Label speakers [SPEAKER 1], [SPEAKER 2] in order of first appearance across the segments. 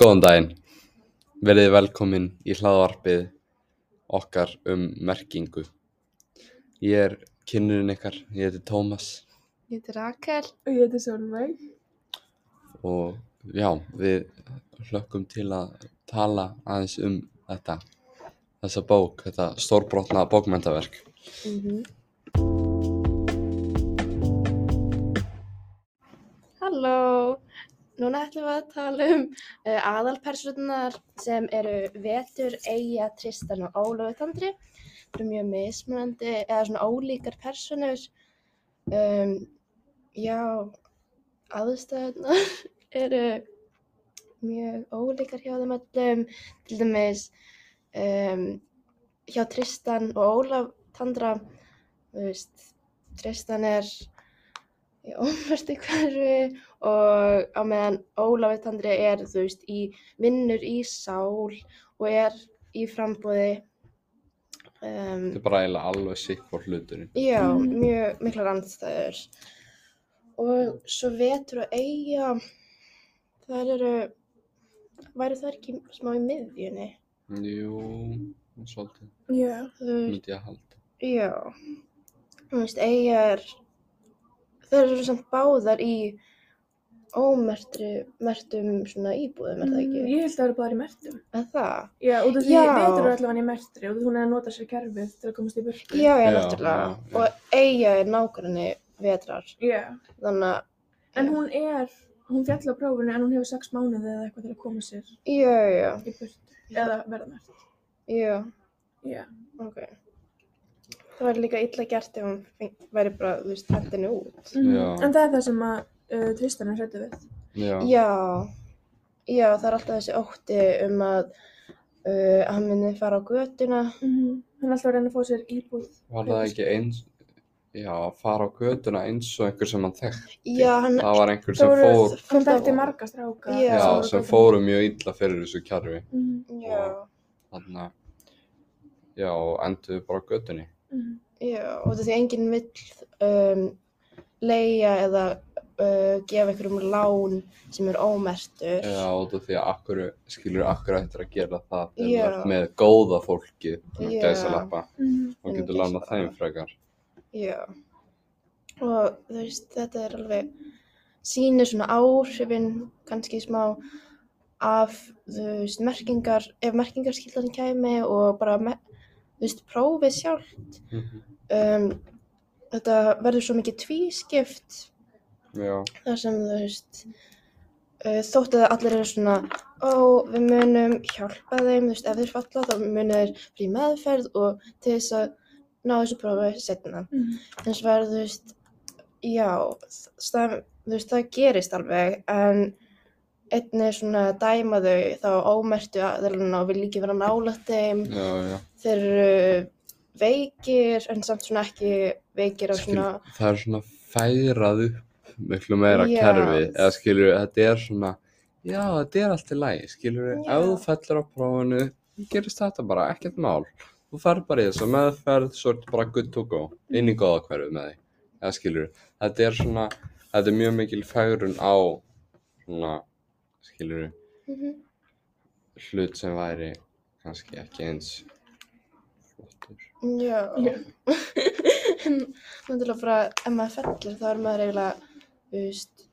[SPEAKER 1] Góðan daginn. Verið velkomin í hlaðvarpið okkar um merkingu. Ég er kynnurinn ykkar, ég heiti Tómas
[SPEAKER 2] Ég heiti Rakel.
[SPEAKER 3] Og ég heiti Solveig.
[SPEAKER 1] og já, við hlökkum til að tala aðeins um þetta, þessa bók, þetta stórbrotna bókmentaverk.
[SPEAKER 2] Halló! Núna ætlum við að tala um uh, aðalpersonar sem eru Vetur, Eyja, Tristan og Ólafur Tandri. Það eru mjög mismunandi eða svona ólíkar personur. Um, já, aðstæðunar eru mjög ólíkar hjá þeim öllum. Til dæmis um, hjá Tristan og Ólaf Tandra, þú veist, Tristan er í ómörti hverfi og á meðan Ólafur Tandri er, þú veist, í vinnur í sál og er í frambúði. Um,
[SPEAKER 1] Þetta er bara eiginlega alveg sikk fór hluturinn.
[SPEAKER 2] Já,
[SPEAKER 3] Mhm.
[SPEAKER 2] mjög miklar andstæður. Og svo vetur og eiga, þær eru, væru þær ekki smá í miðjunni?
[SPEAKER 1] Jú, svolítið,
[SPEAKER 3] Já.
[SPEAKER 2] Þú veist,
[SPEAKER 1] myndi ég að halda.
[SPEAKER 2] já, þú veist, eiga er, þær eru samt báðar í ómertri, mertum svona íbúðum, er það
[SPEAKER 1] Mm,
[SPEAKER 2] ekki?
[SPEAKER 3] Mm, Ég held að það eru bara í mertum.
[SPEAKER 2] Er það?
[SPEAKER 3] Já, út af því
[SPEAKER 2] Já.
[SPEAKER 3] veitur er allavega í mertri og hún er að nota sér kerfið til að komast í burtu.
[SPEAKER 2] Já, já,
[SPEAKER 1] Já,
[SPEAKER 2] náttúrulega.
[SPEAKER 1] já, já.
[SPEAKER 2] Og eiga er nákvæmni vetrar,
[SPEAKER 3] Já.
[SPEAKER 2] þannig að,
[SPEAKER 3] En hún er, hún fjall á prófinu en hún hefur sex mánuði eða eitthvað til að koma sér
[SPEAKER 2] já, já,
[SPEAKER 3] í burtu. Eða verða mert.
[SPEAKER 2] já.
[SPEAKER 3] Já.
[SPEAKER 2] Ok. Það væri líka illa gert ef hún feng- væri bara, þú veist, hendinni út.
[SPEAKER 1] Já.
[SPEAKER 3] Mhm. En það er það sem að uh, Tristan er hrættu við.
[SPEAKER 1] Já,
[SPEAKER 2] Já, já, það er alltaf þessi ótti um að uh, hann myndi fara á götuna. Mhm.
[SPEAKER 3] Hann er alltaf að reyna að fá sér íbúð.
[SPEAKER 1] var það ekki eins, já, að fara á göduna eins og einhver sem hann þekk.
[SPEAKER 2] Já, hann,
[SPEAKER 1] Það var einhver
[SPEAKER 2] það
[SPEAKER 1] sem
[SPEAKER 2] voru-
[SPEAKER 1] fór,
[SPEAKER 3] Hann þekkti marga stráka.
[SPEAKER 2] Já.
[SPEAKER 1] já,
[SPEAKER 3] voru
[SPEAKER 1] sem
[SPEAKER 3] götuna.
[SPEAKER 1] fóru mjög illa fyrir þessu kjarfi.
[SPEAKER 3] Mhm,
[SPEAKER 2] já,
[SPEAKER 1] Þannig að, já, enduðu bara á gödunni.
[SPEAKER 3] mhm.
[SPEAKER 2] já, út af því enginn vill um, leia eða uh, gefa einhverjum lán sem er ómertur.
[SPEAKER 1] Já, út af því að akkur, skilur akkur ættir að gera það þegar
[SPEAKER 2] Já.
[SPEAKER 1] þú ert með góða fólki yeah.
[SPEAKER 2] Já.
[SPEAKER 1] gæsalappa
[SPEAKER 3] Mhm.
[SPEAKER 1] og
[SPEAKER 2] Einmitt.
[SPEAKER 1] getur lánað þeim frekar.
[SPEAKER 2] Já. Og þú veist, þetta er alveg sýnir svona áhrifin kannski smá af, þú veist, merkingar, ef merkingarskildan kæmi og bara, me, þú veist, prófið sjálf. Um, þetta verður svo mikið tvískipt
[SPEAKER 1] Já,
[SPEAKER 2] þar sem, þú veist, uh, þótt að allir eru svona, ó, við munum hjálpa þeim, þú veist, ef þeir falla þá munum þeir frí meðferð og til þess að ná þessu prófið setna
[SPEAKER 3] Mhm.
[SPEAKER 2] hins vegar, þú veist, já, það, þú veist, það gerist alveg, en einnig er svona að dæma þau þá ómertu aðeina og vil ekki vera nálægt þeim,
[SPEAKER 1] já, já.
[SPEAKER 2] þeir eru veikir, en samt svona ekki veikir af
[SPEAKER 1] Skil,
[SPEAKER 2] svona,
[SPEAKER 1] það er svona færað upp miklu meira
[SPEAKER 2] Já.
[SPEAKER 1] kerfi. Eða skilur, þetta er svona, já, þetta er allt í lagi. Skilur,
[SPEAKER 2] Já.
[SPEAKER 1] ef þú fellur á prófunu, gerist þetta bara, ekkert mál. Þú fer bara í þess að meðferð, svo ertu bara good to go, inn í góða hverfið með þig. Eða skilur, þetta er svona, þetta er mjög mikil færun á, svona, skilur,
[SPEAKER 2] Mhm.
[SPEAKER 1] hlut sem væri kannski ekki eins flottur.
[SPEAKER 2] já, en náttúrulega bara, ef maður fellir, þá er maður eiginlega, þú veist,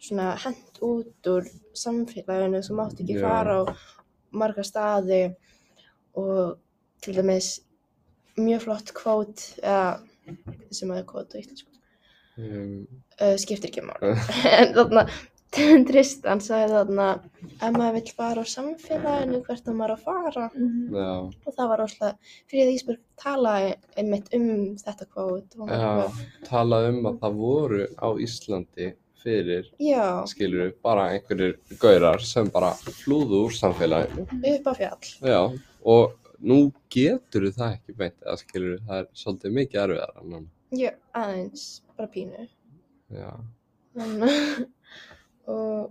[SPEAKER 2] svona hent út úr samfélaginu, þú mátt ekki
[SPEAKER 1] Já.
[SPEAKER 2] fara á marga staði og til dæmis mjög flott kvót, eða, sem að er kvót á íslensku,
[SPEAKER 1] Um,
[SPEAKER 2] uh, skiptir ekki máli. en þarna, Tristan sagði þarna, ef maður vill fara á samfélaginu, hvert á maður að fara?
[SPEAKER 3] Mhm.
[SPEAKER 1] já,
[SPEAKER 2] Og það var óslega, Fríða Ísberg talaði einmitt um þetta kvót. og hún var
[SPEAKER 1] já,
[SPEAKER 2] eitthvað,
[SPEAKER 1] talað um að það voru á Íslandi fyrir,
[SPEAKER 2] Já,
[SPEAKER 1] skilur við, bara einhverjir gaurar sem bara flúðu úr samfélaginu.
[SPEAKER 2] upp á fjall.
[SPEAKER 1] Já, og nú getur það ekki beint, eða skilur við, það er svolítið mikið erfiðar en núna.
[SPEAKER 2] Já, aðeins, bara pínu.
[SPEAKER 1] Já,
[SPEAKER 2] Þannig, og,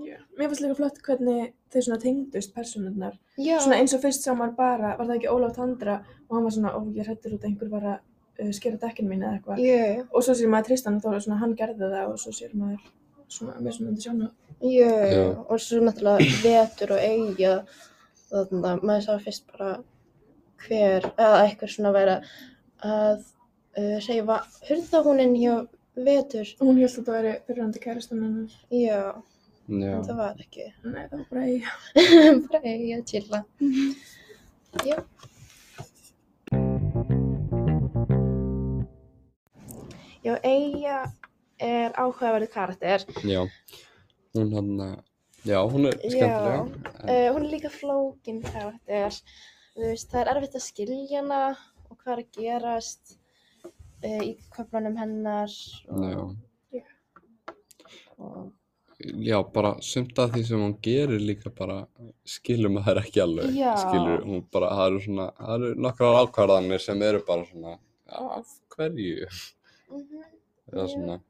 [SPEAKER 3] Já. Mér finnst líka flott hvernig þau svona tengdust persónurnar.
[SPEAKER 2] já,
[SPEAKER 3] Svona eins og fyrst sá maður bara, var það ekki Ólaf Tandra og hann var svona, ó ég hrættur út að einhver var að uh, skera dekkin mín eða eitthvað.
[SPEAKER 2] já,
[SPEAKER 3] Og svo sér maður Tristan og Þóra svona, hann gerði það og svo sér maður svona mismunandi sjónu.
[SPEAKER 2] Jú,
[SPEAKER 1] Já.
[SPEAKER 2] og svo náttúrulega vetur og eiga þannig að maður sá fyrst bara hver, eða eitthvað svona væri að uh, reyfa hurðahúnin hjá vetur
[SPEAKER 3] Hún held að þetta væri fyrirhandi kærastan hennar.
[SPEAKER 2] já,
[SPEAKER 1] Já.
[SPEAKER 2] en það var ekki
[SPEAKER 3] Nei, það var bara eiga.
[SPEAKER 2] bara eiga að chilla já já, eiga er áhugaverðu karakter
[SPEAKER 1] Já. Hún hann, já, hún er
[SPEAKER 2] Já.
[SPEAKER 1] skemmtilega. en-
[SPEAKER 2] uh, hún er líka flókin karakter þú veist, það er erfitt að skilja hana og hvað er að gerast uh, í köflunum hennar og,
[SPEAKER 1] Já.
[SPEAKER 2] og,
[SPEAKER 1] Já, bara sumt af því sem hún gerir líka bara skilur maður ekki alveg,
[SPEAKER 2] Já.
[SPEAKER 1] skilur hún bara, það eru svona, það eru nokkrar ákvarðanir sem eru bara svona, já, af hverju,
[SPEAKER 2] mm
[SPEAKER 1] eða
[SPEAKER 2] Já.
[SPEAKER 1] svona,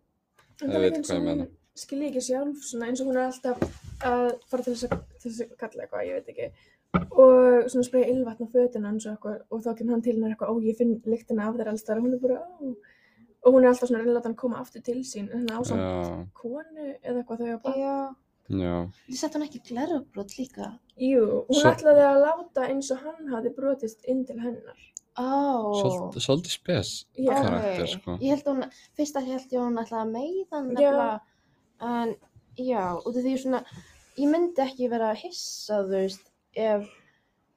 [SPEAKER 3] En
[SPEAKER 1] Ég
[SPEAKER 3] það er
[SPEAKER 1] veit
[SPEAKER 3] eins
[SPEAKER 1] hvað
[SPEAKER 3] og
[SPEAKER 1] ég
[SPEAKER 3] hún
[SPEAKER 1] meina.
[SPEAKER 3] skilji ekki sjálf, svona eins og hún er alltaf að fara til þess að, til þess að kalla eitthvað, ég veit ekki. Og svona spreja ylvatn á fötuna hans og eitthvað, og þá kemur hann til hennar eitthvað, ó, ég finn lyktina af þér alls þar, og hún er bara, ó. Og hún er alltaf svona að reyna að láta hann koma aftur til sín, en hann á samt
[SPEAKER 1] já,
[SPEAKER 3] konu eða eitthvað þau að bara.
[SPEAKER 2] já,
[SPEAKER 1] já,
[SPEAKER 2] þú sett hún ekki glerubrót líka
[SPEAKER 3] Jú, hún
[SPEAKER 1] Svo-
[SPEAKER 3] ætlaði að láta eins og hann hafi brotist inn til hennar.
[SPEAKER 2] ó
[SPEAKER 1] Svol- svolítið spes
[SPEAKER 3] Já.
[SPEAKER 2] ok.
[SPEAKER 1] karakter, sko,
[SPEAKER 2] ég held hún, fyrst að held ég að hún ætlaði að meiða hann
[SPEAKER 3] Já.
[SPEAKER 2] nefnilega, en já, út af því svona, ég myndi ekki vera að hissa, þú veist, ef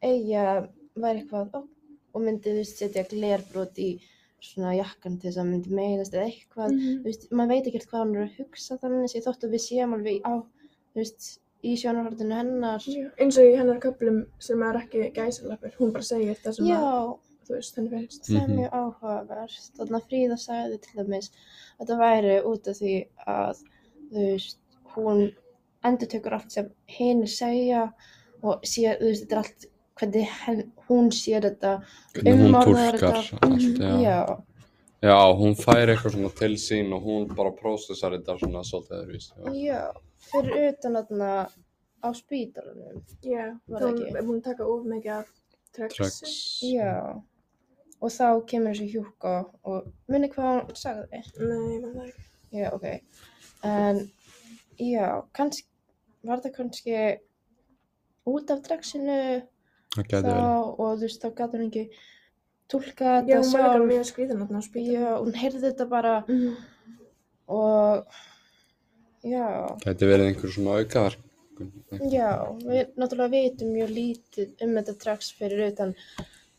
[SPEAKER 2] eiga væri eitthvað ó, og myndi, þú veist, setja glerbrot í svona jakkan til þess að hann myndi meiðast eða eitthvað,
[SPEAKER 3] Mhm.
[SPEAKER 2] þú veist, maður veit ekkert hvað hann er að hugsa þannig, ég þótt að við séum alveg á, þú veist, í sjónarhortinu hennar,
[SPEAKER 3] Já, eins og í hennar köplum sem er ekki gæsalappur, hún bara segir það sem
[SPEAKER 2] já,
[SPEAKER 3] að, þú veist, henni finnst.
[SPEAKER 2] það er
[SPEAKER 1] Mhm.
[SPEAKER 2] mjög áhugavert. Þannig að Fríða sagði til dæmis að þetta væri út af því að þú veist, hún endurtökur allt sem hinn segja og sér, þú veist, þetta er allt hvernig henn, hún sér þetta.
[SPEAKER 1] hvernig hún
[SPEAKER 2] Umorðar
[SPEAKER 1] túlkar
[SPEAKER 2] Um þetta.
[SPEAKER 1] allt, já,
[SPEAKER 2] Já,
[SPEAKER 1] já, hún fær eitthvað svona til sín og hún bara prósessar þetta svona svolítið öðruvísi, já,
[SPEAKER 2] já, fyrir utan þarna á spítalunum.
[SPEAKER 3] Já,
[SPEAKER 2] Var
[SPEAKER 3] þá
[SPEAKER 2] það ekki?
[SPEAKER 3] er hún að taka of mikið af
[SPEAKER 1] tracks,
[SPEAKER 3] tröksi.
[SPEAKER 2] Já, og þá kemur þessi hjúka og minni hvað hún sagði.
[SPEAKER 3] Nei, ég man það ekki.
[SPEAKER 2] Já, ok. En, já, kannski, var það kannski út af dragsinu
[SPEAKER 1] það
[SPEAKER 2] þá
[SPEAKER 1] gæti vel,
[SPEAKER 2] og þú veist, þá gæti hún ekki tólka
[SPEAKER 3] Já,
[SPEAKER 2] þetta
[SPEAKER 3] hún var líka
[SPEAKER 2] sjálf.
[SPEAKER 3] mjög skrýðan þarna á spítan.
[SPEAKER 2] Já, hún heyrði þetta bara
[SPEAKER 3] Mhm.
[SPEAKER 2] og, já,
[SPEAKER 1] gæti verið einhver svona aukaverk,
[SPEAKER 2] já, við náttúrulega vitum mjög lítið um þetta drags fyrir utan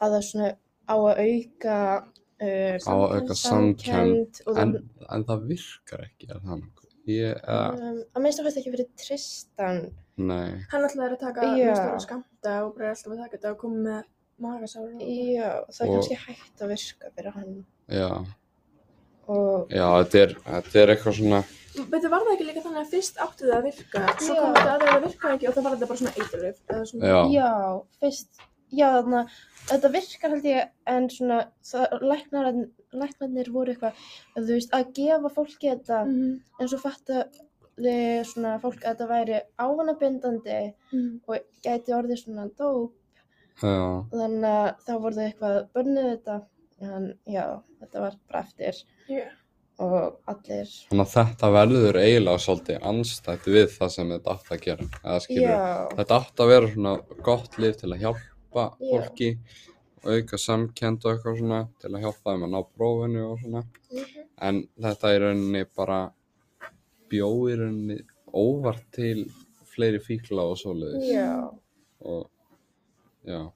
[SPEAKER 2] að það svona á að auka uh,
[SPEAKER 1] Á að auka samkennd,
[SPEAKER 2] og
[SPEAKER 1] en,
[SPEAKER 2] það,
[SPEAKER 1] en það virkar ekki, er það nokkuð, ég, eða,
[SPEAKER 2] um, að minnst að ekki fyrir Tristan.
[SPEAKER 1] nei,
[SPEAKER 3] Hann ætlaði að taka
[SPEAKER 2] Já.
[SPEAKER 3] mest ára skamta og bara er alltaf að taka þetta og koma með magasára.
[SPEAKER 2] Já, það er
[SPEAKER 1] Og-
[SPEAKER 2] kannski hægt að virka fyrir hann
[SPEAKER 1] já,
[SPEAKER 2] og
[SPEAKER 1] Já, þetta er, þetta er eitthvað svona,
[SPEAKER 3] Veitu, var það ekki líka þannig að fyrst átti það að virka, svo
[SPEAKER 2] Já.
[SPEAKER 3] kom þetta að það virkaði ekki og það var þetta bara svona eiturlif. eða svona-
[SPEAKER 1] já,
[SPEAKER 2] já, fyrst, já þarna, þetta virkar held ég en svona það, læknar, læknarnir voru eitthvað, þú veist, að gefa fólki þetta
[SPEAKER 3] Mhm.
[SPEAKER 2] en svo fattaði svona fólk að þetta væri ávanabindandi
[SPEAKER 3] Mhm.
[SPEAKER 2] og gæti orðið svona dóp
[SPEAKER 1] já,
[SPEAKER 2] þannig að þá voru þau eitthvað að bönnuð þetta en já, þetta var bara eftir
[SPEAKER 3] Já.
[SPEAKER 2] og allir,
[SPEAKER 1] þannig að þetta verður eiginlega svolítið anstætt við það sem þetta átt að gera, eða skilur,
[SPEAKER 2] já,
[SPEAKER 1] þetta átt að vera svona gott lið til að hjálpa
[SPEAKER 2] Já.
[SPEAKER 1] fólki og auka samkend og eitthvað svona til að hjálpa þeim að ná prófinu og svona,
[SPEAKER 2] Mhm.
[SPEAKER 1] en þetta í rauninni bara bjó í rauninni óvart til fleiri fíkla og svoleiðis
[SPEAKER 2] já. Mm.
[SPEAKER 1] og já,
[SPEAKER 2] og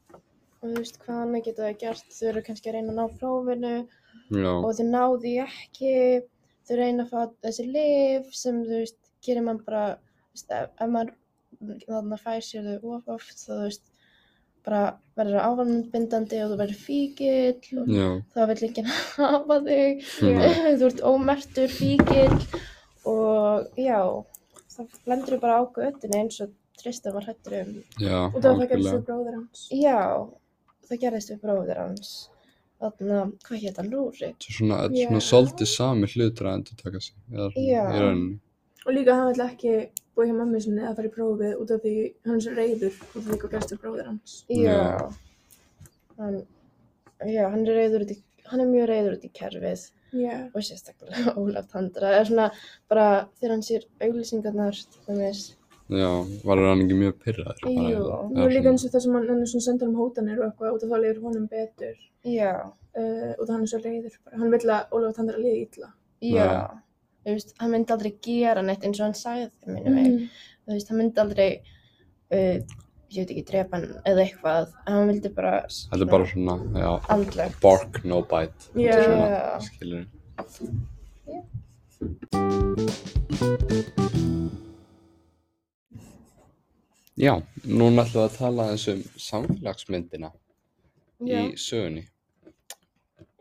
[SPEAKER 2] þú veist hvað annað geta það gert þau eru kannski að reyna að ná prófinu
[SPEAKER 1] já,
[SPEAKER 2] og þau ná því ekki þau reyna að fá þessi lif sem þú veist gerir mann bara þú veist, ef, ef maður þannig að fær sér þau of oft þá þú veist bara verður ávanbindandi og þú verður fíkil og
[SPEAKER 1] já,
[SPEAKER 2] þá vill ekki hafa þig
[SPEAKER 1] Nei.
[SPEAKER 2] þú ert ómertur fíkil og já þá lendur þau bara á götunni eins og Tristan var hættur um
[SPEAKER 1] já,
[SPEAKER 3] Og það var það
[SPEAKER 1] algjörlega.
[SPEAKER 3] gerðist við bróðir hans.
[SPEAKER 2] Já, það gerðist við bróður hans. Þannig að, hvað hétt hann, Rúrik?
[SPEAKER 1] Þetta er svona, þetta er svona
[SPEAKER 3] Já.
[SPEAKER 1] svolítið sami hlutur að endur taka sig. eða svona,
[SPEAKER 2] Já.
[SPEAKER 1] Í rauninni.
[SPEAKER 3] Og líka hann vill ekki búið hjá mammi sinni að fara í prófið út af því hann er svo reyður út af því hvað gerst við bróðir hans.
[SPEAKER 1] Já.
[SPEAKER 2] Já. Hann, já, hann er reyður út í hann er mjög reyður út í kerfið
[SPEAKER 3] Já,
[SPEAKER 2] og sérstaklega Ólaf Tandra er svona bara þegar hann sér auglýsingarnar til dæmis
[SPEAKER 1] Já, var hann ekki mjög pyrraður? bara
[SPEAKER 2] Jú.
[SPEAKER 1] eða-
[SPEAKER 3] og
[SPEAKER 1] eða
[SPEAKER 3] líka
[SPEAKER 1] svona-
[SPEAKER 3] eins og það sem hann, hann er svona sendur um hótanir og eitthvað og þá lifir honum betur
[SPEAKER 2] já,
[SPEAKER 3] uh, og það hann er svo reyður bara. Hann vil að Ólaf Tandra liði illa.
[SPEAKER 2] já þú veist, hann myndi aldrei gera neitt eins og hann sagði þeim minnum mig
[SPEAKER 1] Mm.
[SPEAKER 2] þú veist, hann myndi aldrei uh, ég veit ekki, drepa hann eða eitthvað en hann vildi bara
[SPEAKER 1] Þetta er bara svona, já,
[SPEAKER 2] andlegt
[SPEAKER 1] bark, no bite. Þetta er
[SPEAKER 3] Já.
[SPEAKER 1] svona, Skilur. Já, núna ætlum við að tala eins um samfélagsmyndina
[SPEAKER 2] já,
[SPEAKER 1] í sögunni.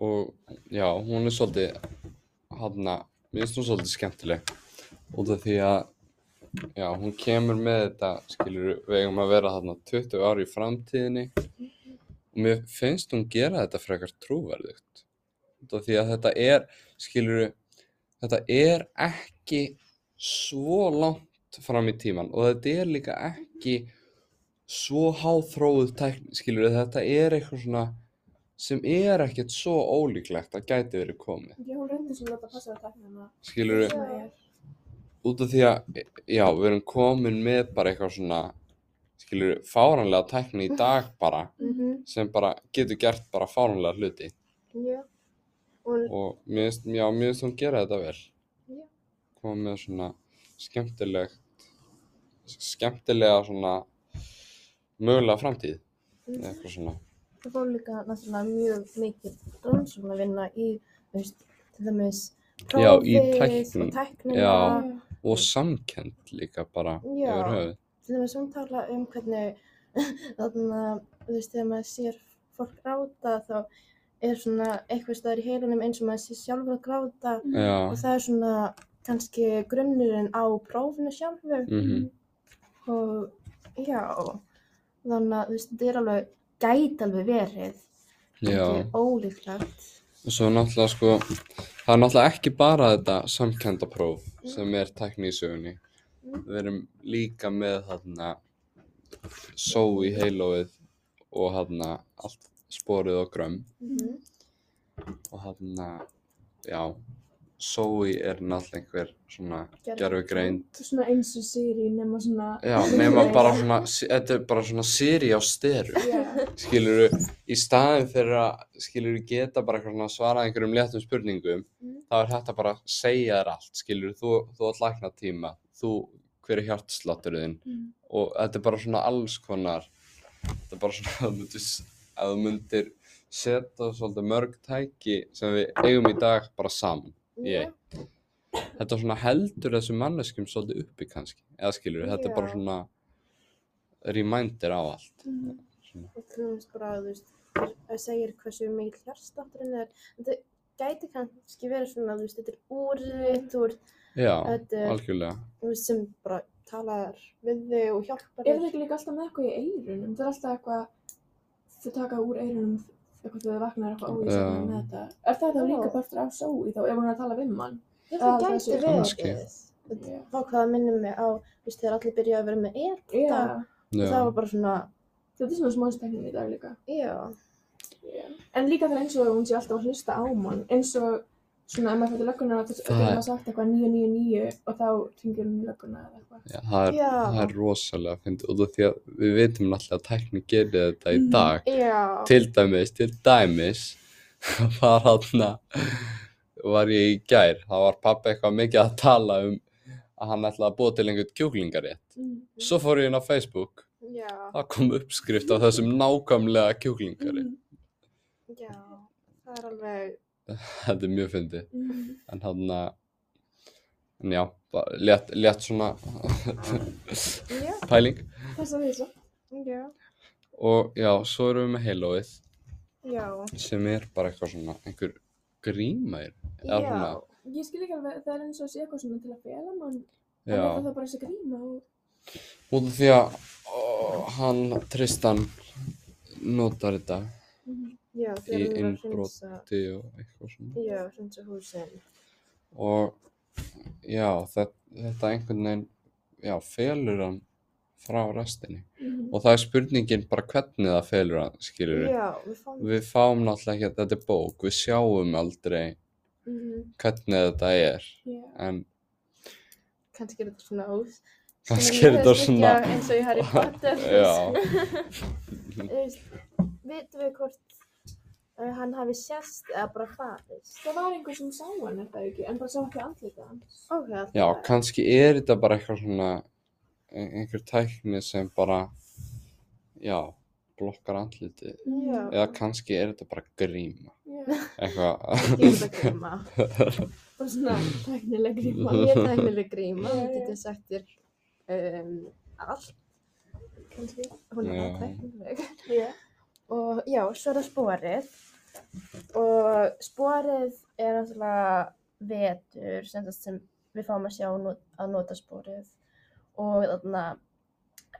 [SPEAKER 1] Og já, hún er svolítið, hana, mér finnst hún svolítið skemmtileg. Út af því að, já, hún kemur með þetta, skilur, við eigum að vera þarna 20 ári í framtíðinni. Og mér finnst hún gera þetta frekar trúverðugt. Út af því að þetta er, skilur, þetta er ekki svo langt fram í tíman og þetta er líka ekki svo háþróuð tækni, skilur þetta er eitthvað svona sem er ekkert svo ólíklegt að gæti verið komið,
[SPEAKER 3] Já, hún reyndi svona að láta passa það tæknum að
[SPEAKER 1] skilur út af því að, já, við erum komin með bara eitthvað svona skilur, fáranlega tækni í dag bara,
[SPEAKER 2] mhm,
[SPEAKER 1] sem bara getur gert bara fáranlega hluti
[SPEAKER 2] já. Og,
[SPEAKER 1] og mér finnst, já, mér finnst hún gera þetta vel
[SPEAKER 2] Já.
[SPEAKER 1] koma með svona skemmtilegt skemmtilega svona mögulega framtíð
[SPEAKER 2] Mhm.
[SPEAKER 1] eitthvað svona
[SPEAKER 2] það fór líka náttúrulega mjög mikið rannsókn að vinna í, þú veist, til dæmis
[SPEAKER 1] Já, í
[SPEAKER 2] prófið
[SPEAKER 1] tæknin,
[SPEAKER 2] og tæknina.
[SPEAKER 1] já. og samkend líka bara
[SPEAKER 2] Já.
[SPEAKER 1] yfir höfuð
[SPEAKER 2] Til dæmis hún tala um hvernig, þarna, þú veist, þegar maður sér fólk gráta þá er svona eitthvað staðar í heilanum eins og maður sé sjálfur að gráta og
[SPEAKER 1] já,
[SPEAKER 2] það er svona kannski grunnurinn á prófinu sjálfu
[SPEAKER 1] mhm,
[SPEAKER 2] og já, þannig að þú veist, þetta er alveg, gæti alveg verið,
[SPEAKER 1] já
[SPEAKER 2] ekki ólíklegt.
[SPEAKER 1] og svo náttúrulega sko það er náttúrulega ekki bara þetta samkendapróf sem er tækni í sögunni
[SPEAKER 2] Mhm.
[SPEAKER 1] við erum líka með þarna só í heilóið og þarna allt sporið og grömm
[SPEAKER 2] Mhm.
[SPEAKER 1] og þarna já, sói er náttúrulega einhver svona gerfi greind
[SPEAKER 3] Svona eins og Siri nema svona
[SPEAKER 1] já, nema bara svona þetta er bara svona siri á steru
[SPEAKER 3] Já,
[SPEAKER 1] skilur í staðin fyrir að skilur geta bara eitthvað svona svarað einhverjum léttum spurningum
[SPEAKER 2] Mm.
[SPEAKER 1] þá er þetta bara að segja þér allt skilur þú, þú átt lækna tíma þú, hver er hjartslátturinn
[SPEAKER 3] Mm.
[SPEAKER 1] og þetta er bara svona alls konar þetta er bara svona að þú myndir, að þú myndir setja svolítið mörg tæki sem við eigum í dag bara saman í eitt. þetta svona heldur þessum manneskjum svolítið uppi kannski eða skilur þetta er bara
[SPEAKER 2] Já.
[SPEAKER 1] svona reminder á allt
[SPEAKER 2] Mm.
[SPEAKER 3] Mhm.
[SPEAKER 2] og þú veist bara, þú veist, þér- það segir hversu mikið hjartstátturinn er, þetta gæti kannski verið svona, þú veist, þetta er úrrið úr,
[SPEAKER 1] já,
[SPEAKER 2] Þetta er-
[SPEAKER 1] algjörlega
[SPEAKER 2] þú veist, sem bara talar við þig og hjálpar
[SPEAKER 3] er það ekki líka alltaf með eitthvað í eirunum? Það er alltaf eitthvað, þau taka úr eirunum eitthvað þegar þau vaknar eitthvað óvísa
[SPEAKER 1] Já.
[SPEAKER 3] með þetta. Er það þá
[SPEAKER 2] Já.
[SPEAKER 3] líka partur af sói þá ef hún er að tala við mann?
[SPEAKER 2] Ég held að
[SPEAKER 3] Já,
[SPEAKER 2] það
[SPEAKER 3] það sé
[SPEAKER 2] gæti
[SPEAKER 1] kannski.
[SPEAKER 2] verið. Þetta
[SPEAKER 3] Já.
[SPEAKER 2] var hvað það minnir mig á, þú veist, þegar allir byrjaði að vera með er,
[SPEAKER 3] Já,
[SPEAKER 1] já.
[SPEAKER 2] það var bara svona,
[SPEAKER 3] þetta er svona smánsteknin í dag líka.
[SPEAKER 2] já,
[SPEAKER 3] Já. En líka það er eins og hún sé alltaf að hlusta á mann, eins og svona ef maður fyrir lögguna og þess
[SPEAKER 1] Það
[SPEAKER 3] að
[SPEAKER 1] er-
[SPEAKER 3] maður sagt eitthvað 999 og þá tingir hún í lögguna eða eitthvað.
[SPEAKER 1] Já, það, er,
[SPEAKER 2] Já.
[SPEAKER 1] það er rosalega fyndið út af því að við vitum náttúrulega að tækni gerir þetta í
[SPEAKER 2] Mm.
[SPEAKER 3] Mhm.
[SPEAKER 1] dag
[SPEAKER 2] já,
[SPEAKER 1] til dæmis, til dæmis var hann var ég í gær, það var pappi eitthvað mikið að tala um að hann ætlaði að búa til einhvern kjúklingarétt
[SPEAKER 3] Mm.
[SPEAKER 1] svo fór ég inn á Facebook
[SPEAKER 2] já,
[SPEAKER 1] það kom uppskrift af þessum nákvæmlega kjúklingarétt
[SPEAKER 3] Mm.
[SPEAKER 2] já, það er alveg,
[SPEAKER 1] þetta er mjög fyndið
[SPEAKER 3] Mm.
[SPEAKER 1] en hann en já, bara létt, létt svona
[SPEAKER 2] já,
[SPEAKER 1] pæling
[SPEAKER 3] Passa því svo.
[SPEAKER 2] já,
[SPEAKER 1] og já, svo erum við með heilóið
[SPEAKER 2] já,
[SPEAKER 1] sem er bara eitthvað svona einhver gríma er eða
[SPEAKER 2] Já.
[SPEAKER 1] svona
[SPEAKER 3] Ég skil ekki alveg, það er eins og sé eitthvað svona til að fela mann, en
[SPEAKER 1] já,
[SPEAKER 3] það er það bara þessi gríma og...
[SPEAKER 1] út af því að ó, hann Tristan notar þetta
[SPEAKER 2] já,
[SPEAKER 1] Í
[SPEAKER 2] þegar hún var að
[SPEAKER 1] innbrot.
[SPEAKER 2] hreinsa,
[SPEAKER 1] til og eitthvað svona
[SPEAKER 2] já, hreinsa húsin,
[SPEAKER 1] og já, þetta, þetta einhvern veginn já, felur hann frá restinni
[SPEAKER 3] Mhm.
[SPEAKER 1] og það er spurningin bara hvernig það felur að skilur
[SPEAKER 2] Já, við fáum
[SPEAKER 1] við fáum náttúrulega ekki að þetta er bók við sjáum aldrei
[SPEAKER 2] Mhm.
[SPEAKER 1] hvernig þetta er
[SPEAKER 3] Já.
[SPEAKER 1] en
[SPEAKER 2] Kannski er þetta svona óð.
[SPEAKER 1] kannski er þetta svona
[SPEAKER 2] Eins og í Harry Potter.
[SPEAKER 1] já,
[SPEAKER 2] Þú veist, Vitum við hvort uh, hann hafi sérst eða bara farist?
[SPEAKER 3] Það var einhver sem sá hann, er það ekki, en bara sá ekki andlita hans.
[SPEAKER 2] Ok, allt
[SPEAKER 1] já,
[SPEAKER 2] í lagi.
[SPEAKER 1] kannski er þetta bara eitthvað svona ein- einhver tækni sem bara já, blokkar andliti
[SPEAKER 2] Já.
[SPEAKER 1] eða kannski er þetta bara gríma
[SPEAKER 3] Já.
[SPEAKER 1] eitthvað
[SPEAKER 2] Ég er þetta gríma.
[SPEAKER 3] Bara svona tæknileg gríma.
[SPEAKER 2] Ég er tæknileg gríma.
[SPEAKER 3] Já,
[SPEAKER 2] Hún
[SPEAKER 3] já.
[SPEAKER 2] getur sagt þér um, allt, kannski. Hún er
[SPEAKER 1] Já.
[SPEAKER 2] bara tæknileg.
[SPEAKER 3] Já.
[SPEAKER 2] Og já, svo er það sporið. Og sporið er náttúrulega vetur sem, sagt sem við fáum að sjá nú- að nota sporið. Og þarna,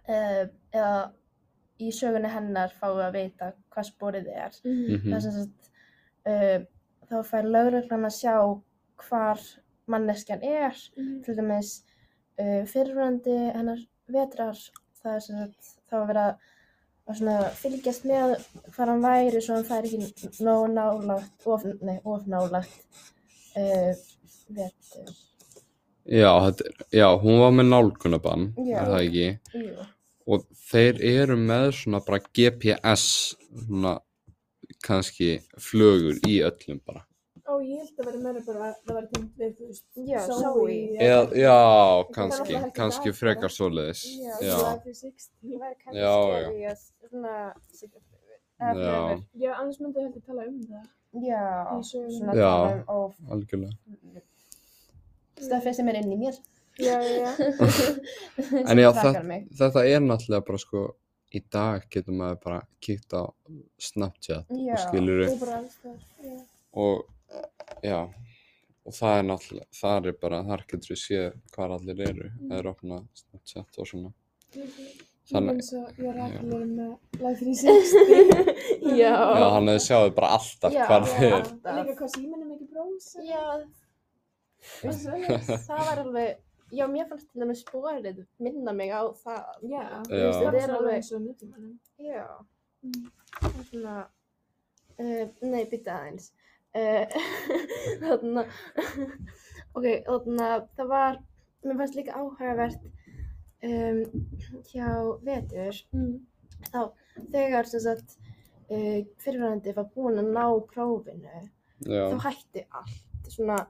[SPEAKER 2] eh, eða í sögunni hennar fáum við að vita hvað sporið er. Það
[SPEAKER 3] Mhm.
[SPEAKER 1] Mhm.
[SPEAKER 2] er sem sagt, uh, þá fær lögreglan að sjá hvar manneskjan er.
[SPEAKER 3] Mhm.
[SPEAKER 2] Til dæmis uh, fyrirvörandi hennar vetrar, það er sem sagt, þá að vera að svona fylgjast með hvar hann væri svo hann fær ekki nóg nálagt, of, nei, of nálagt uh, vetur.
[SPEAKER 1] já, þetta, er- já, hún var með nálgunabann
[SPEAKER 2] Já.
[SPEAKER 1] er það ekki
[SPEAKER 2] Jú.
[SPEAKER 1] og þeir eru með svona bara GPS svona kannski flögur í öllum bara
[SPEAKER 3] Ó, ég held að vera meira bara að það var tengt við, þú veist,
[SPEAKER 2] Já, Zoe.
[SPEAKER 1] Eða, já,
[SPEAKER 3] Það er
[SPEAKER 1] kannski,
[SPEAKER 3] náttúrulega ekki
[SPEAKER 1] kannski
[SPEAKER 3] það,
[SPEAKER 1] frekar svoleiðis
[SPEAKER 2] Já,
[SPEAKER 1] já,
[SPEAKER 3] Zoe 360.
[SPEAKER 2] Það er
[SPEAKER 1] Já, já.
[SPEAKER 2] kannski að svona,
[SPEAKER 1] já,
[SPEAKER 3] Já, annars myndi ég held að tala um það.
[SPEAKER 2] já,
[SPEAKER 3] Í sögunni.
[SPEAKER 1] Já.
[SPEAKER 2] svona tala um of
[SPEAKER 1] algjörlega
[SPEAKER 2] Stöfið sem er inn í mér.
[SPEAKER 3] Já, já, já.
[SPEAKER 1] en já,
[SPEAKER 2] Trakkar
[SPEAKER 1] þetta,
[SPEAKER 2] mig.
[SPEAKER 1] þetta er náttúrulega bara sko í dag getur maður bara kíkt á Snapchat
[SPEAKER 2] Já.
[SPEAKER 1] og skilur
[SPEAKER 3] Þú bara alls það. Já.
[SPEAKER 1] og já og það er náttúrulega, það er bara þar getur við séð hvar allir eru
[SPEAKER 2] Mm.
[SPEAKER 1] eða er opna Snapchat og svona
[SPEAKER 3] Þannig.
[SPEAKER 1] Þannig-
[SPEAKER 3] Eins og ég rækli með Life 360.
[SPEAKER 1] já, hann hefði sjáðu bara alltaf
[SPEAKER 2] Já.
[SPEAKER 1] hvar þið
[SPEAKER 3] Já,
[SPEAKER 1] er
[SPEAKER 3] Líka hvað símanum ekki brósa.
[SPEAKER 2] Já,
[SPEAKER 3] Og svoleiðis.
[SPEAKER 2] það var alveg, já, mér fannst til dæmis spórið minna mig á það.
[SPEAKER 3] Já, þú
[SPEAKER 1] Já.
[SPEAKER 3] veist, það
[SPEAKER 2] Þetta
[SPEAKER 3] er
[SPEAKER 2] er
[SPEAKER 3] alveg
[SPEAKER 2] alveg-
[SPEAKER 3] eins og nútímanum.
[SPEAKER 2] Já,
[SPEAKER 3] Mm.
[SPEAKER 2] það er svona, uh, Hérna, nei, bytta aðeins. Uh, þarna, ok, þarna, það var, mér fannst líka áhugavert um, hjá Vetur,
[SPEAKER 3] Mm.
[SPEAKER 2] þá þegar sem sagt uh, fyrirværendi var búinn að ná prófinu,
[SPEAKER 1] já,
[SPEAKER 2] þá hætti allt svona,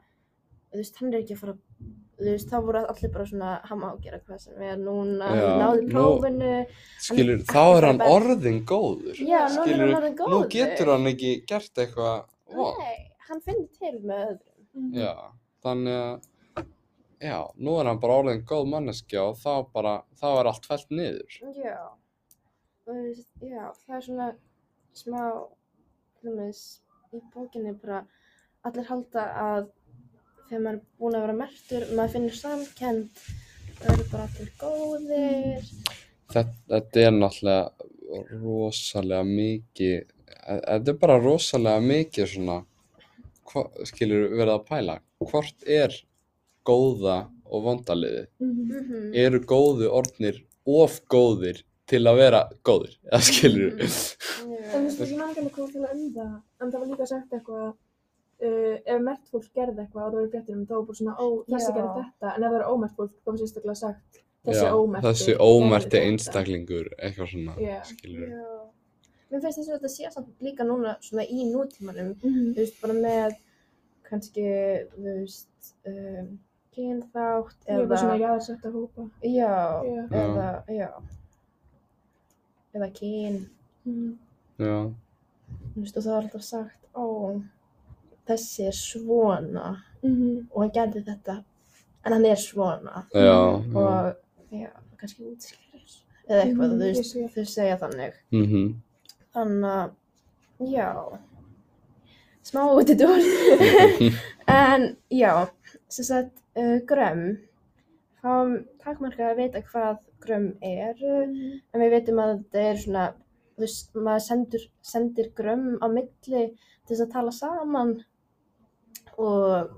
[SPEAKER 2] þú veist, hann er ekki að fara þú veist, þá voru allir bara svona hann má gera hvað sem er núna
[SPEAKER 1] Já,
[SPEAKER 2] hann náði
[SPEAKER 1] nú-
[SPEAKER 2] prófinu
[SPEAKER 1] skilur,
[SPEAKER 2] ekki
[SPEAKER 1] þá er
[SPEAKER 2] bara
[SPEAKER 1] hann
[SPEAKER 2] best.
[SPEAKER 1] orðin góður
[SPEAKER 2] já, nú er
[SPEAKER 1] Skilurðu,
[SPEAKER 2] hann orðin góður
[SPEAKER 1] nú getur hann ekki gert eitthvað vont.
[SPEAKER 2] nei, hann finnir til með öðrum
[SPEAKER 3] Mm.
[SPEAKER 1] já, þannig að já, nú er hann bara orðin góð manneskja og þá bara, þá er allt fælt niður
[SPEAKER 2] já, og þú veist, já það er svona smá hlumis í bókinni bara allir halda að þegar maður er búinn að vera mertur maður finnir samkend það eru bara allir góðir
[SPEAKER 1] þetta, þetta er náttúrulega rosalega mikið e- þetta er bara rosalega mikið svona hva, skilur verið að pæla hvort er góða og vondaliði
[SPEAKER 3] Mhm.
[SPEAKER 2] mm
[SPEAKER 1] eru góðu orðnir of góðir til að vera góðir eða skilur
[SPEAKER 3] En þú veist, ég man ekki alveg hvað til að um það, en það var líka sagt eitthvað, uh, ef mert fólk gerði eitthvað og það var í fréttinum, þá var bara svona, ó, þessi
[SPEAKER 2] Já.
[SPEAKER 3] gerði þetta, en ef það var ómert fólk, þá var sérstaklega sagt, þessi
[SPEAKER 1] Já,
[SPEAKER 3] ómerti.
[SPEAKER 1] þessi ómerti einstaklingur eitthvað svona
[SPEAKER 3] Já.
[SPEAKER 1] skilur
[SPEAKER 2] Já. Mér finnst þess að þetta sé samt líka núna svona í nútímanum,
[SPEAKER 3] Mhm.
[SPEAKER 2] þú veist, bara með kannski, þú veist, um, kynþátt
[SPEAKER 3] Ég var
[SPEAKER 2] eða,
[SPEAKER 3] bara svona jaðarsett að hópa.
[SPEAKER 2] já,
[SPEAKER 3] Já.
[SPEAKER 2] eða, já, eða kyn,
[SPEAKER 3] Mhm.
[SPEAKER 1] já,
[SPEAKER 2] þú veist, og það var alltaf sagt, ó, þessi er svona
[SPEAKER 3] Mhm.
[SPEAKER 2] og hann gerði þetta, en hann er svona
[SPEAKER 1] já, já.
[SPEAKER 2] Mm. og, já, kannski útskýrir eða eitthvað,
[SPEAKER 3] Mhm,
[SPEAKER 2] þú
[SPEAKER 3] ég
[SPEAKER 2] veist,
[SPEAKER 3] sé.
[SPEAKER 2] þau segja þannig.
[SPEAKER 1] mhm.
[SPEAKER 2] Þannig að, já, smá út í dór. en já, sem sagt, uh, grömm, þá takkmarkað að vita hvað grömm eru, en við veitum að þetta er svona, þú veist, maður sendur, sendir grömm á milli til þess að tala saman og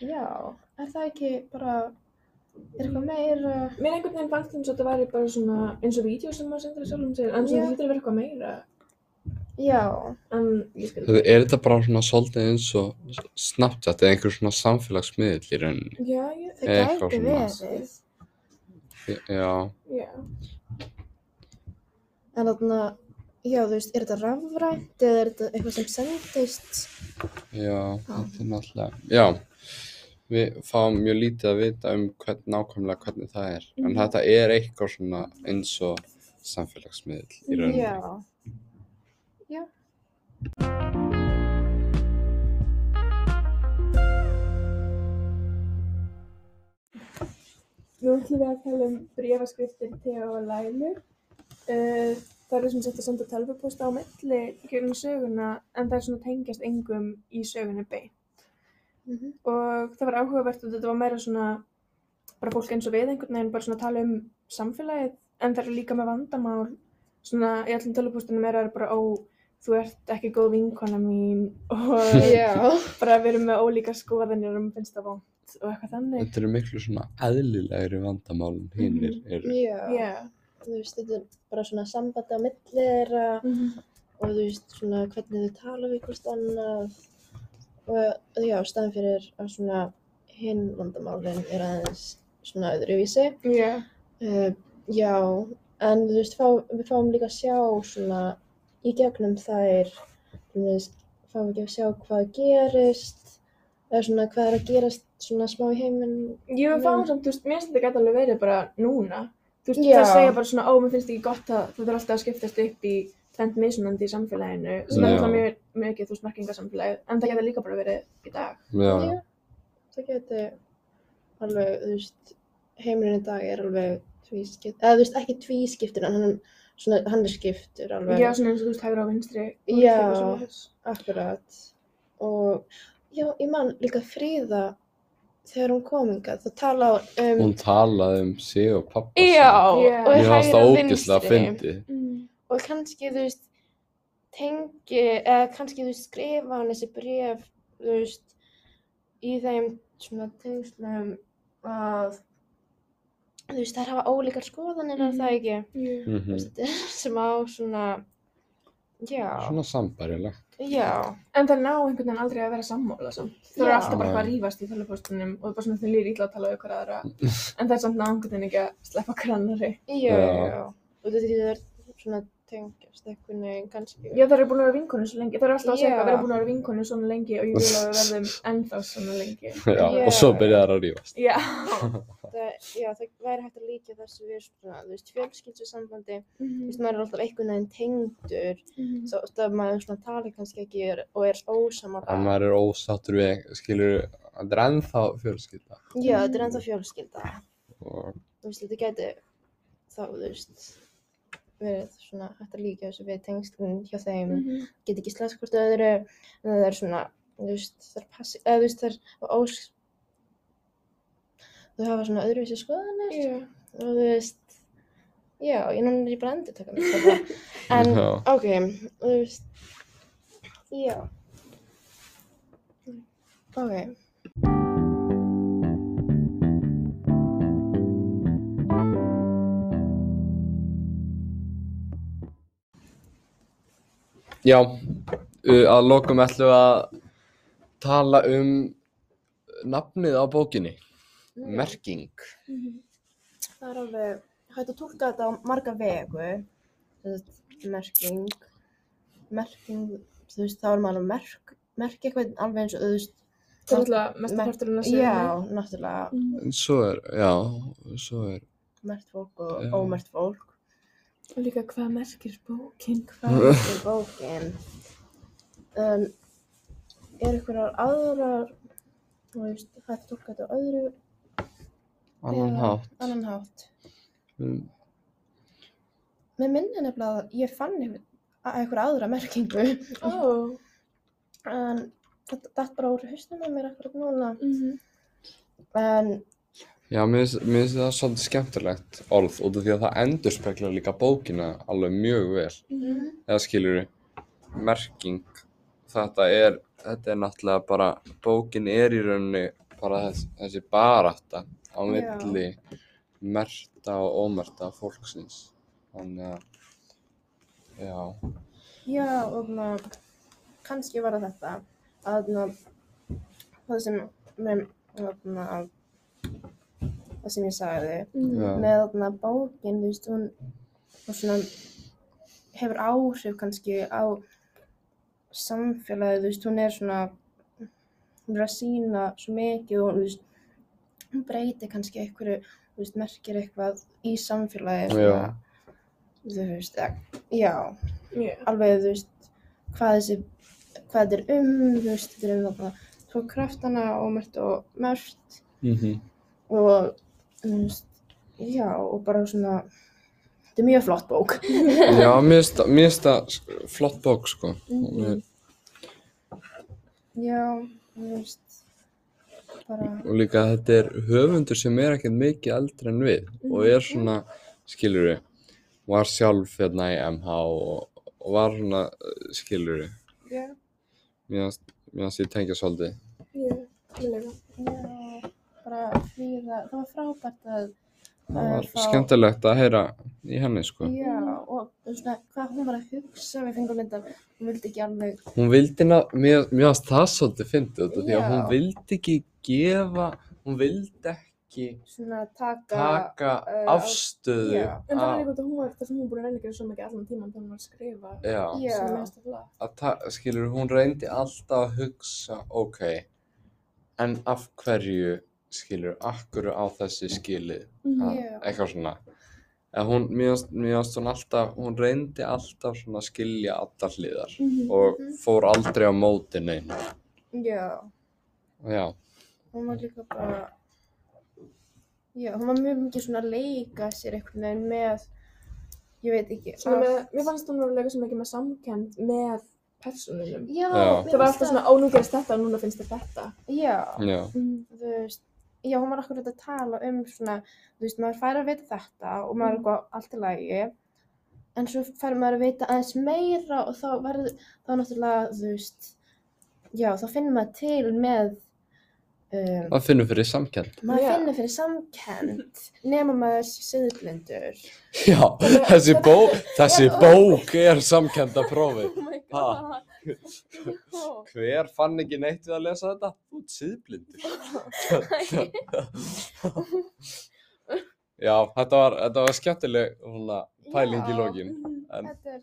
[SPEAKER 2] já, er það ekki bara Er eitthvað meira?
[SPEAKER 3] Mér einhvern veginn fannst eins og þetta væri bara svona eins og vídeo sem maður sendur í sjálfum sér, en svona
[SPEAKER 2] Já.
[SPEAKER 3] þú getur verið eitthvað meira.
[SPEAKER 2] Já,
[SPEAKER 3] En ég skil.
[SPEAKER 1] Þetta- Er þetta bara svona svolítið eins og Snapchat eða einhver svona samfélagsmiðl í rauninni?
[SPEAKER 3] Já, ég,
[SPEAKER 2] það
[SPEAKER 1] Eitthvað
[SPEAKER 2] gæti
[SPEAKER 1] svona.
[SPEAKER 2] verið.
[SPEAKER 1] Já,
[SPEAKER 3] já.
[SPEAKER 2] En þarna, já þú veist, er þetta rafrænt eða er þetta eitthvað sem sendist?
[SPEAKER 1] já, þetta er náttúrulega, já, við fáum mjög lítið að vita um hvern, nákvæmlega hvernig það er, en
[SPEAKER 3] Mhm.
[SPEAKER 1] þetta er eitthvað svona eins og samfélagsmiðl í rauninni.
[SPEAKER 2] Já. Já.
[SPEAKER 3] Nú ætlum við að tala um brefaskriftir Teo og Lælu. Uh, það eru sem sagt að senda tölvupósta á milli gerum söguna, en það er svona tengjast engum í sögunni beint.
[SPEAKER 2] Mhm.
[SPEAKER 3] og það var áhugavert og þetta var meira svona bara fólk eins og við einhvern veginn bara svona að tala um samfélagið en það eru líka með vandamál svona í öllum tölupústunum er það bara ó þú ert ekki góð vinkona mín og
[SPEAKER 2] Já.
[SPEAKER 3] bara við erum með ólíka skoðanir og mér finnst það vond og eitthvað þannig
[SPEAKER 1] Þetta eru miklu svona eðlilegri
[SPEAKER 2] Mhm.
[SPEAKER 1] vandamálinn hinnir eru.
[SPEAKER 2] Já.
[SPEAKER 3] yeah.
[SPEAKER 2] Þú veist, þetta er bara svona sambandi á milli þeirra
[SPEAKER 3] mm -hmm.
[SPEAKER 2] og þú veist svona hvernig þau tala við hvort annað og já, staðan fyrir að svona hinn vandamálin er aðeins svona öðruvísi.
[SPEAKER 3] yeah.
[SPEAKER 2] Uh, já, en þú veist, fá, við fáum líka að sjá svona í gegnum þær, þú veist, fáum ekki að sjá hvað gerist, eða svona hvað er að gerast svona smá í heiminn.
[SPEAKER 3] ég var
[SPEAKER 2] Já.
[SPEAKER 3] fáin samt, þú veist, mér finnst þetta gæti alveg verið bara núna þú veist,
[SPEAKER 2] Já.
[SPEAKER 3] það segja bara svona ó, mér finnst ekki gott að þetta er alltaf að skiptast upp í tvent misunandi í samfélaginu sem
[SPEAKER 1] Já.
[SPEAKER 3] er alltaf mjög mikið, þú veist, merkingasamfélagið en það gæti líka bara verið í dag
[SPEAKER 1] Já,
[SPEAKER 2] Já, það geti alveg, þú veist, heimurinn í dag er alveg tvískiptur, eða þú veist, ekki tvískiptur, en hann, svona, hann er skiptur alveg.
[SPEAKER 3] Já, svona eins og þú veist, hægra og vinstri. og
[SPEAKER 2] Já.
[SPEAKER 3] eitthvað svoleiðis.
[SPEAKER 2] Akkurat. Og já, ég man líka Fríða, þegar hún kom hingað, þá tala hún um,
[SPEAKER 1] hún talaði um sig og pappa
[SPEAKER 2] já,
[SPEAKER 3] Já.
[SPEAKER 2] og
[SPEAKER 1] Mér fannst
[SPEAKER 2] hægra
[SPEAKER 1] það ógeðslega
[SPEAKER 2] vinstri.
[SPEAKER 1] fyndið.
[SPEAKER 2] Og kannski, þú veist, tengi, eða kannski, þú veist, skrifa hann þessi bref, þú veist, í þeim svona tengslum að, þú veist, þær hafa ólíkar skoðanir, mm.
[SPEAKER 3] Mhm.
[SPEAKER 2] það ekki,
[SPEAKER 3] Já.
[SPEAKER 1] Mm
[SPEAKER 2] þú veist, sem á svona, já,
[SPEAKER 1] Svona sambærilega.
[SPEAKER 2] já,
[SPEAKER 3] En það ná einhvern veginn aldrei að vera sammála samt. Það eru
[SPEAKER 2] Já.
[SPEAKER 3] alltaf bara eitthvað að
[SPEAKER 1] Nei.
[SPEAKER 3] rífast í tölvupóstunum og bara svona þau lýri illa að tala við ykkur aðra. En það er samt ná einhvern veginn ekki að sleppa hver annari.
[SPEAKER 2] já,
[SPEAKER 1] Já.
[SPEAKER 2] já, og þetta því það er svona tengjast einhvern veginn, kannski,
[SPEAKER 3] Já, það eru búin að vera vinkonur svo lengi. Það eru alltaf að segja
[SPEAKER 2] Já.
[SPEAKER 3] að vera búin að vera vinkonur svona lengi og ég vil að við verðum ennþá svona lengi.
[SPEAKER 1] Já,
[SPEAKER 2] Já.
[SPEAKER 1] og svo byrjaði það að rífast.
[SPEAKER 3] Já.
[SPEAKER 2] það, já, það væri hægt að líka þessu við svona, þú veist, fjölskyldsusambandi, þú veist,
[SPEAKER 3] Mhm.
[SPEAKER 2] maður er alltaf einhvern veginn tengdur,
[SPEAKER 3] Mhm.
[SPEAKER 2] svo oft að maður svona tali kannski ekki er, og er ósamara
[SPEAKER 1] En maður er ósáttur við, skilur, þetta er ennþá fjölskylda.
[SPEAKER 2] já, þetta er ennþá fjölskylda
[SPEAKER 1] Og
[SPEAKER 2] þú veist, þetta gæti þá, þú veist verið svona hægt að líka þessu við tengslun hjá þeim, mm.
[SPEAKER 3] Mhm.
[SPEAKER 2] get ekki slæst hvort öðru en það er svona, þú veist það er passi, eða þú veist, það er ós þau hafa svona öðruvísi skoðanir
[SPEAKER 3] Já.
[SPEAKER 2] og þú veist já, ég náttúrulega er ég sko, bara að endur taka mig þetta. en,
[SPEAKER 1] Já.
[SPEAKER 2] ok, þú veist já ok
[SPEAKER 1] Já, uh, að lokum ætlum við að tala um nafnið á bókinni, merking.
[SPEAKER 3] Mhm.
[SPEAKER 2] Það er alveg hægt að tólka þetta á marga vegu, þessi merking, merking, þú veist, þá er maður að merk, merkja eitthvað alveg eins og þú veist,
[SPEAKER 3] Það er alltaf mesta parturinn Mhm. að segja.
[SPEAKER 2] já, náttúrulega,
[SPEAKER 3] Já.
[SPEAKER 1] En Svo er, já, svo er,
[SPEAKER 2] mert fólk og
[SPEAKER 1] Já.
[SPEAKER 2] ómert fólk,
[SPEAKER 3] Og líka hvað merkir bókinn, hvað...
[SPEAKER 1] Mhm.
[SPEAKER 2] þetta er bókin. Um, er einhverjar aðrar, þú veist, hægt að tólka þetta á öðru,
[SPEAKER 1] annan
[SPEAKER 2] Já.
[SPEAKER 1] hátt.
[SPEAKER 2] annan hátt.
[SPEAKER 1] Mm,
[SPEAKER 2] Mér minni nefnilega að ég fann einhver, að- einhverja aðra merkingu,
[SPEAKER 3] Ó.
[SPEAKER 2] en þetta datt bara úr haustum með mér akkurat núna.
[SPEAKER 3] Mhm.
[SPEAKER 2] En
[SPEAKER 1] Já, mér finnst mér finnst það svolítið skemmtilegt orð út af því að það endurspeglar líka bókina alveg mjög vel.
[SPEAKER 3] Mhm.
[SPEAKER 1] Eða skilur við, merking, þetta er, þetta er náttúrulega bara, bókin er í rauninni bara þess, þessi barata á
[SPEAKER 2] Já.
[SPEAKER 1] milli merta og ómerta fólksins þannig að já,
[SPEAKER 2] Já, og svona, kannski var það þetta að svona, það sem með, svona, að- það sem ég sagði
[SPEAKER 1] já,
[SPEAKER 2] með þarna bókin, þú veist, hún og svona hefur áhrif kannski á samfélagið, þú veist, hún er svona hún er að sína svo mikið og þú veist, hún breytir kannski einhverju, þú veist, merkir eitthvað í samfélagið,
[SPEAKER 1] Já.
[SPEAKER 2] svona, þú veist, eh, já
[SPEAKER 3] Já.
[SPEAKER 2] alveg, þú veist, hvað þessi, hvað þetta er um, þú veist, þetta er um þarna tvo kraftana, ómert og mörgt
[SPEAKER 1] mhm,
[SPEAKER 2] og, þú veist, já, og bara svona, þetta er mjög flott bók.
[SPEAKER 1] já mér finnst það- mér finnst það sk- flott bók sko
[SPEAKER 3] Mhm.
[SPEAKER 2] Já, þú veist, bara,
[SPEAKER 1] og líka að þetta er höfundur sem er ekkert mikið eldri en við og
[SPEAKER 2] Mhm.
[SPEAKER 1] er svona, skilur við var sjálf hérna í MH og, og var svona, skilur við
[SPEAKER 2] já,
[SPEAKER 1] mér finnst- mér finnst ég tengja svolítið
[SPEAKER 3] Já, ég lega.
[SPEAKER 2] já, bara fríða, það var frábært að,
[SPEAKER 1] það var
[SPEAKER 2] Þá-
[SPEAKER 1] skemmtilegt að heyra í henni sko
[SPEAKER 2] já, og þú veist, svona, hvað hún var að hugsa, við fengum mynda, hún vildi ekki alveg,
[SPEAKER 1] hún vildi ná, mér, mér varst það svolítið fyndið út af því að
[SPEAKER 2] Já.
[SPEAKER 1] hún vildi ekki gefa, hún vildi ekki
[SPEAKER 2] svona, taka,
[SPEAKER 1] taka
[SPEAKER 2] eh,
[SPEAKER 1] afstöðu
[SPEAKER 2] já.
[SPEAKER 3] En það var
[SPEAKER 1] að,
[SPEAKER 3] líka út að hún var það sem hún búin að reyna að gera svo mikið allan tíman þegar hún var að skrifa
[SPEAKER 1] já,
[SPEAKER 2] Já.
[SPEAKER 3] sem mest af lag.
[SPEAKER 1] að ta- skilur, hún reyndi alltaf að hugsa, ok en af hverju skilur, akkur á þessi skilið
[SPEAKER 3] Mhm.
[SPEAKER 1] að-
[SPEAKER 2] Já.
[SPEAKER 1] eitthvað svona að hún, mér varst, mér varst hún alltaf hún reyndi alltaf svona að skilja allar hliðar
[SPEAKER 3] Mhm.
[SPEAKER 1] og fór aldrei á móti neina
[SPEAKER 2] já.
[SPEAKER 1] já,
[SPEAKER 2] hún var líka bara já, hún var mjög mikið svona að leika sér einhvern veginn með ég veit ekki
[SPEAKER 3] Svona
[SPEAKER 2] allt.
[SPEAKER 3] með, mér fannst hún vera að lega svo mikið með samkend með personunum.
[SPEAKER 2] já,
[SPEAKER 1] Já.
[SPEAKER 2] mér
[SPEAKER 3] Það var
[SPEAKER 2] finnst
[SPEAKER 3] alltaf svona, ó, nú gerist þetta og núna finnst þér þetta.
[SPEAKER 2] já,
[SPEAKER 1] já
[SPEAKER 2] þú veist já, hún var akkur að tala um svona þú veist, maður fær að vita þetta og maður er eitthvað allt í lagi en svo fær maður að vita aðeins meira og þá verður, þá náttúrulega þú veist, já, þá finnur maður til með um,
[SPEAKER 1] að finnum fyrir samkend
[SPEAKER 2] maður
[SPEAKER 3] Já.
[SPEAKER 2] finnur fyrir samkend nema maður söðblindur
[SPEAKER 1] já, þessi bók þessi bók er samkendaprófi
[SPEAKER 2] oh my
[SPEAKER 1] Ha.
[SPEAKER 2] god Já.
[SPEAKER 1] hver fann ekki neitt við að lesa þetta? þú ert síðblindur já, þetta var, þetta var skemmtileg svona, pæling í
[SPEAKER 2] Já.
[SPEAKER 1] lokin en,
[SPEAKER 2] Þetta er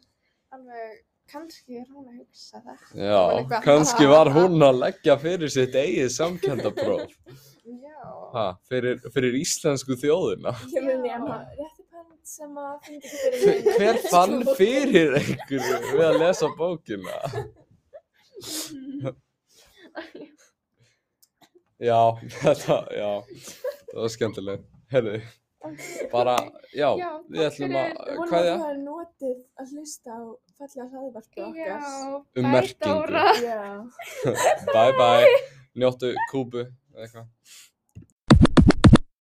[SPEAKER 2] alveg, kannski er hún að hugsa það. var
[SPEAKER 1] já,
[SPEAKER 2] eitthvað-
[SPEAKER 1] kannski var hún að leggja fyrir sitt eigið samkendapróf
[SPEAKER 2] Já.
[SPEAKER 1] ha, fyrir, fyrir íslensku þjóðina
[SPEAKER 3] Ég mun ég
[SPEAKER 2] Já.
[SPEAKER 3] að rétti pönt sem að finnst
[SPEAKER 1] Hver-
[SPEAKER 3] ekki fyrir neinu.
[SPEAKER 1] hver fann fyrir einhverju við að lesa bókina já, þetta, já það var skemmtileg herri, bara, já,
[SPEAKER 2] Já,
[SPEAKER 1] við
[SPEAKER 2] takk
[SPEAKER 1] ætlum
[SPEAKER 2] fyrir.
[SPEAKER 1] að
[SPEAKER 3] Hún var
[SPEAKER 1] hvaðja,
[SPEAKER 3] það að notið að hlusta á fallega hlaðvarpi okkar.
[SPEAKER 2] Já,
[SPEAKER 1] Um
[SPEAKER 2] bæ,
[SPEAKER 1] merkingu.
[SPEAKER 2] Dóra.
[SPEAKER 3] Já.
[SPEAKER 1] bye bye njóttu kúbu, eða eitthvað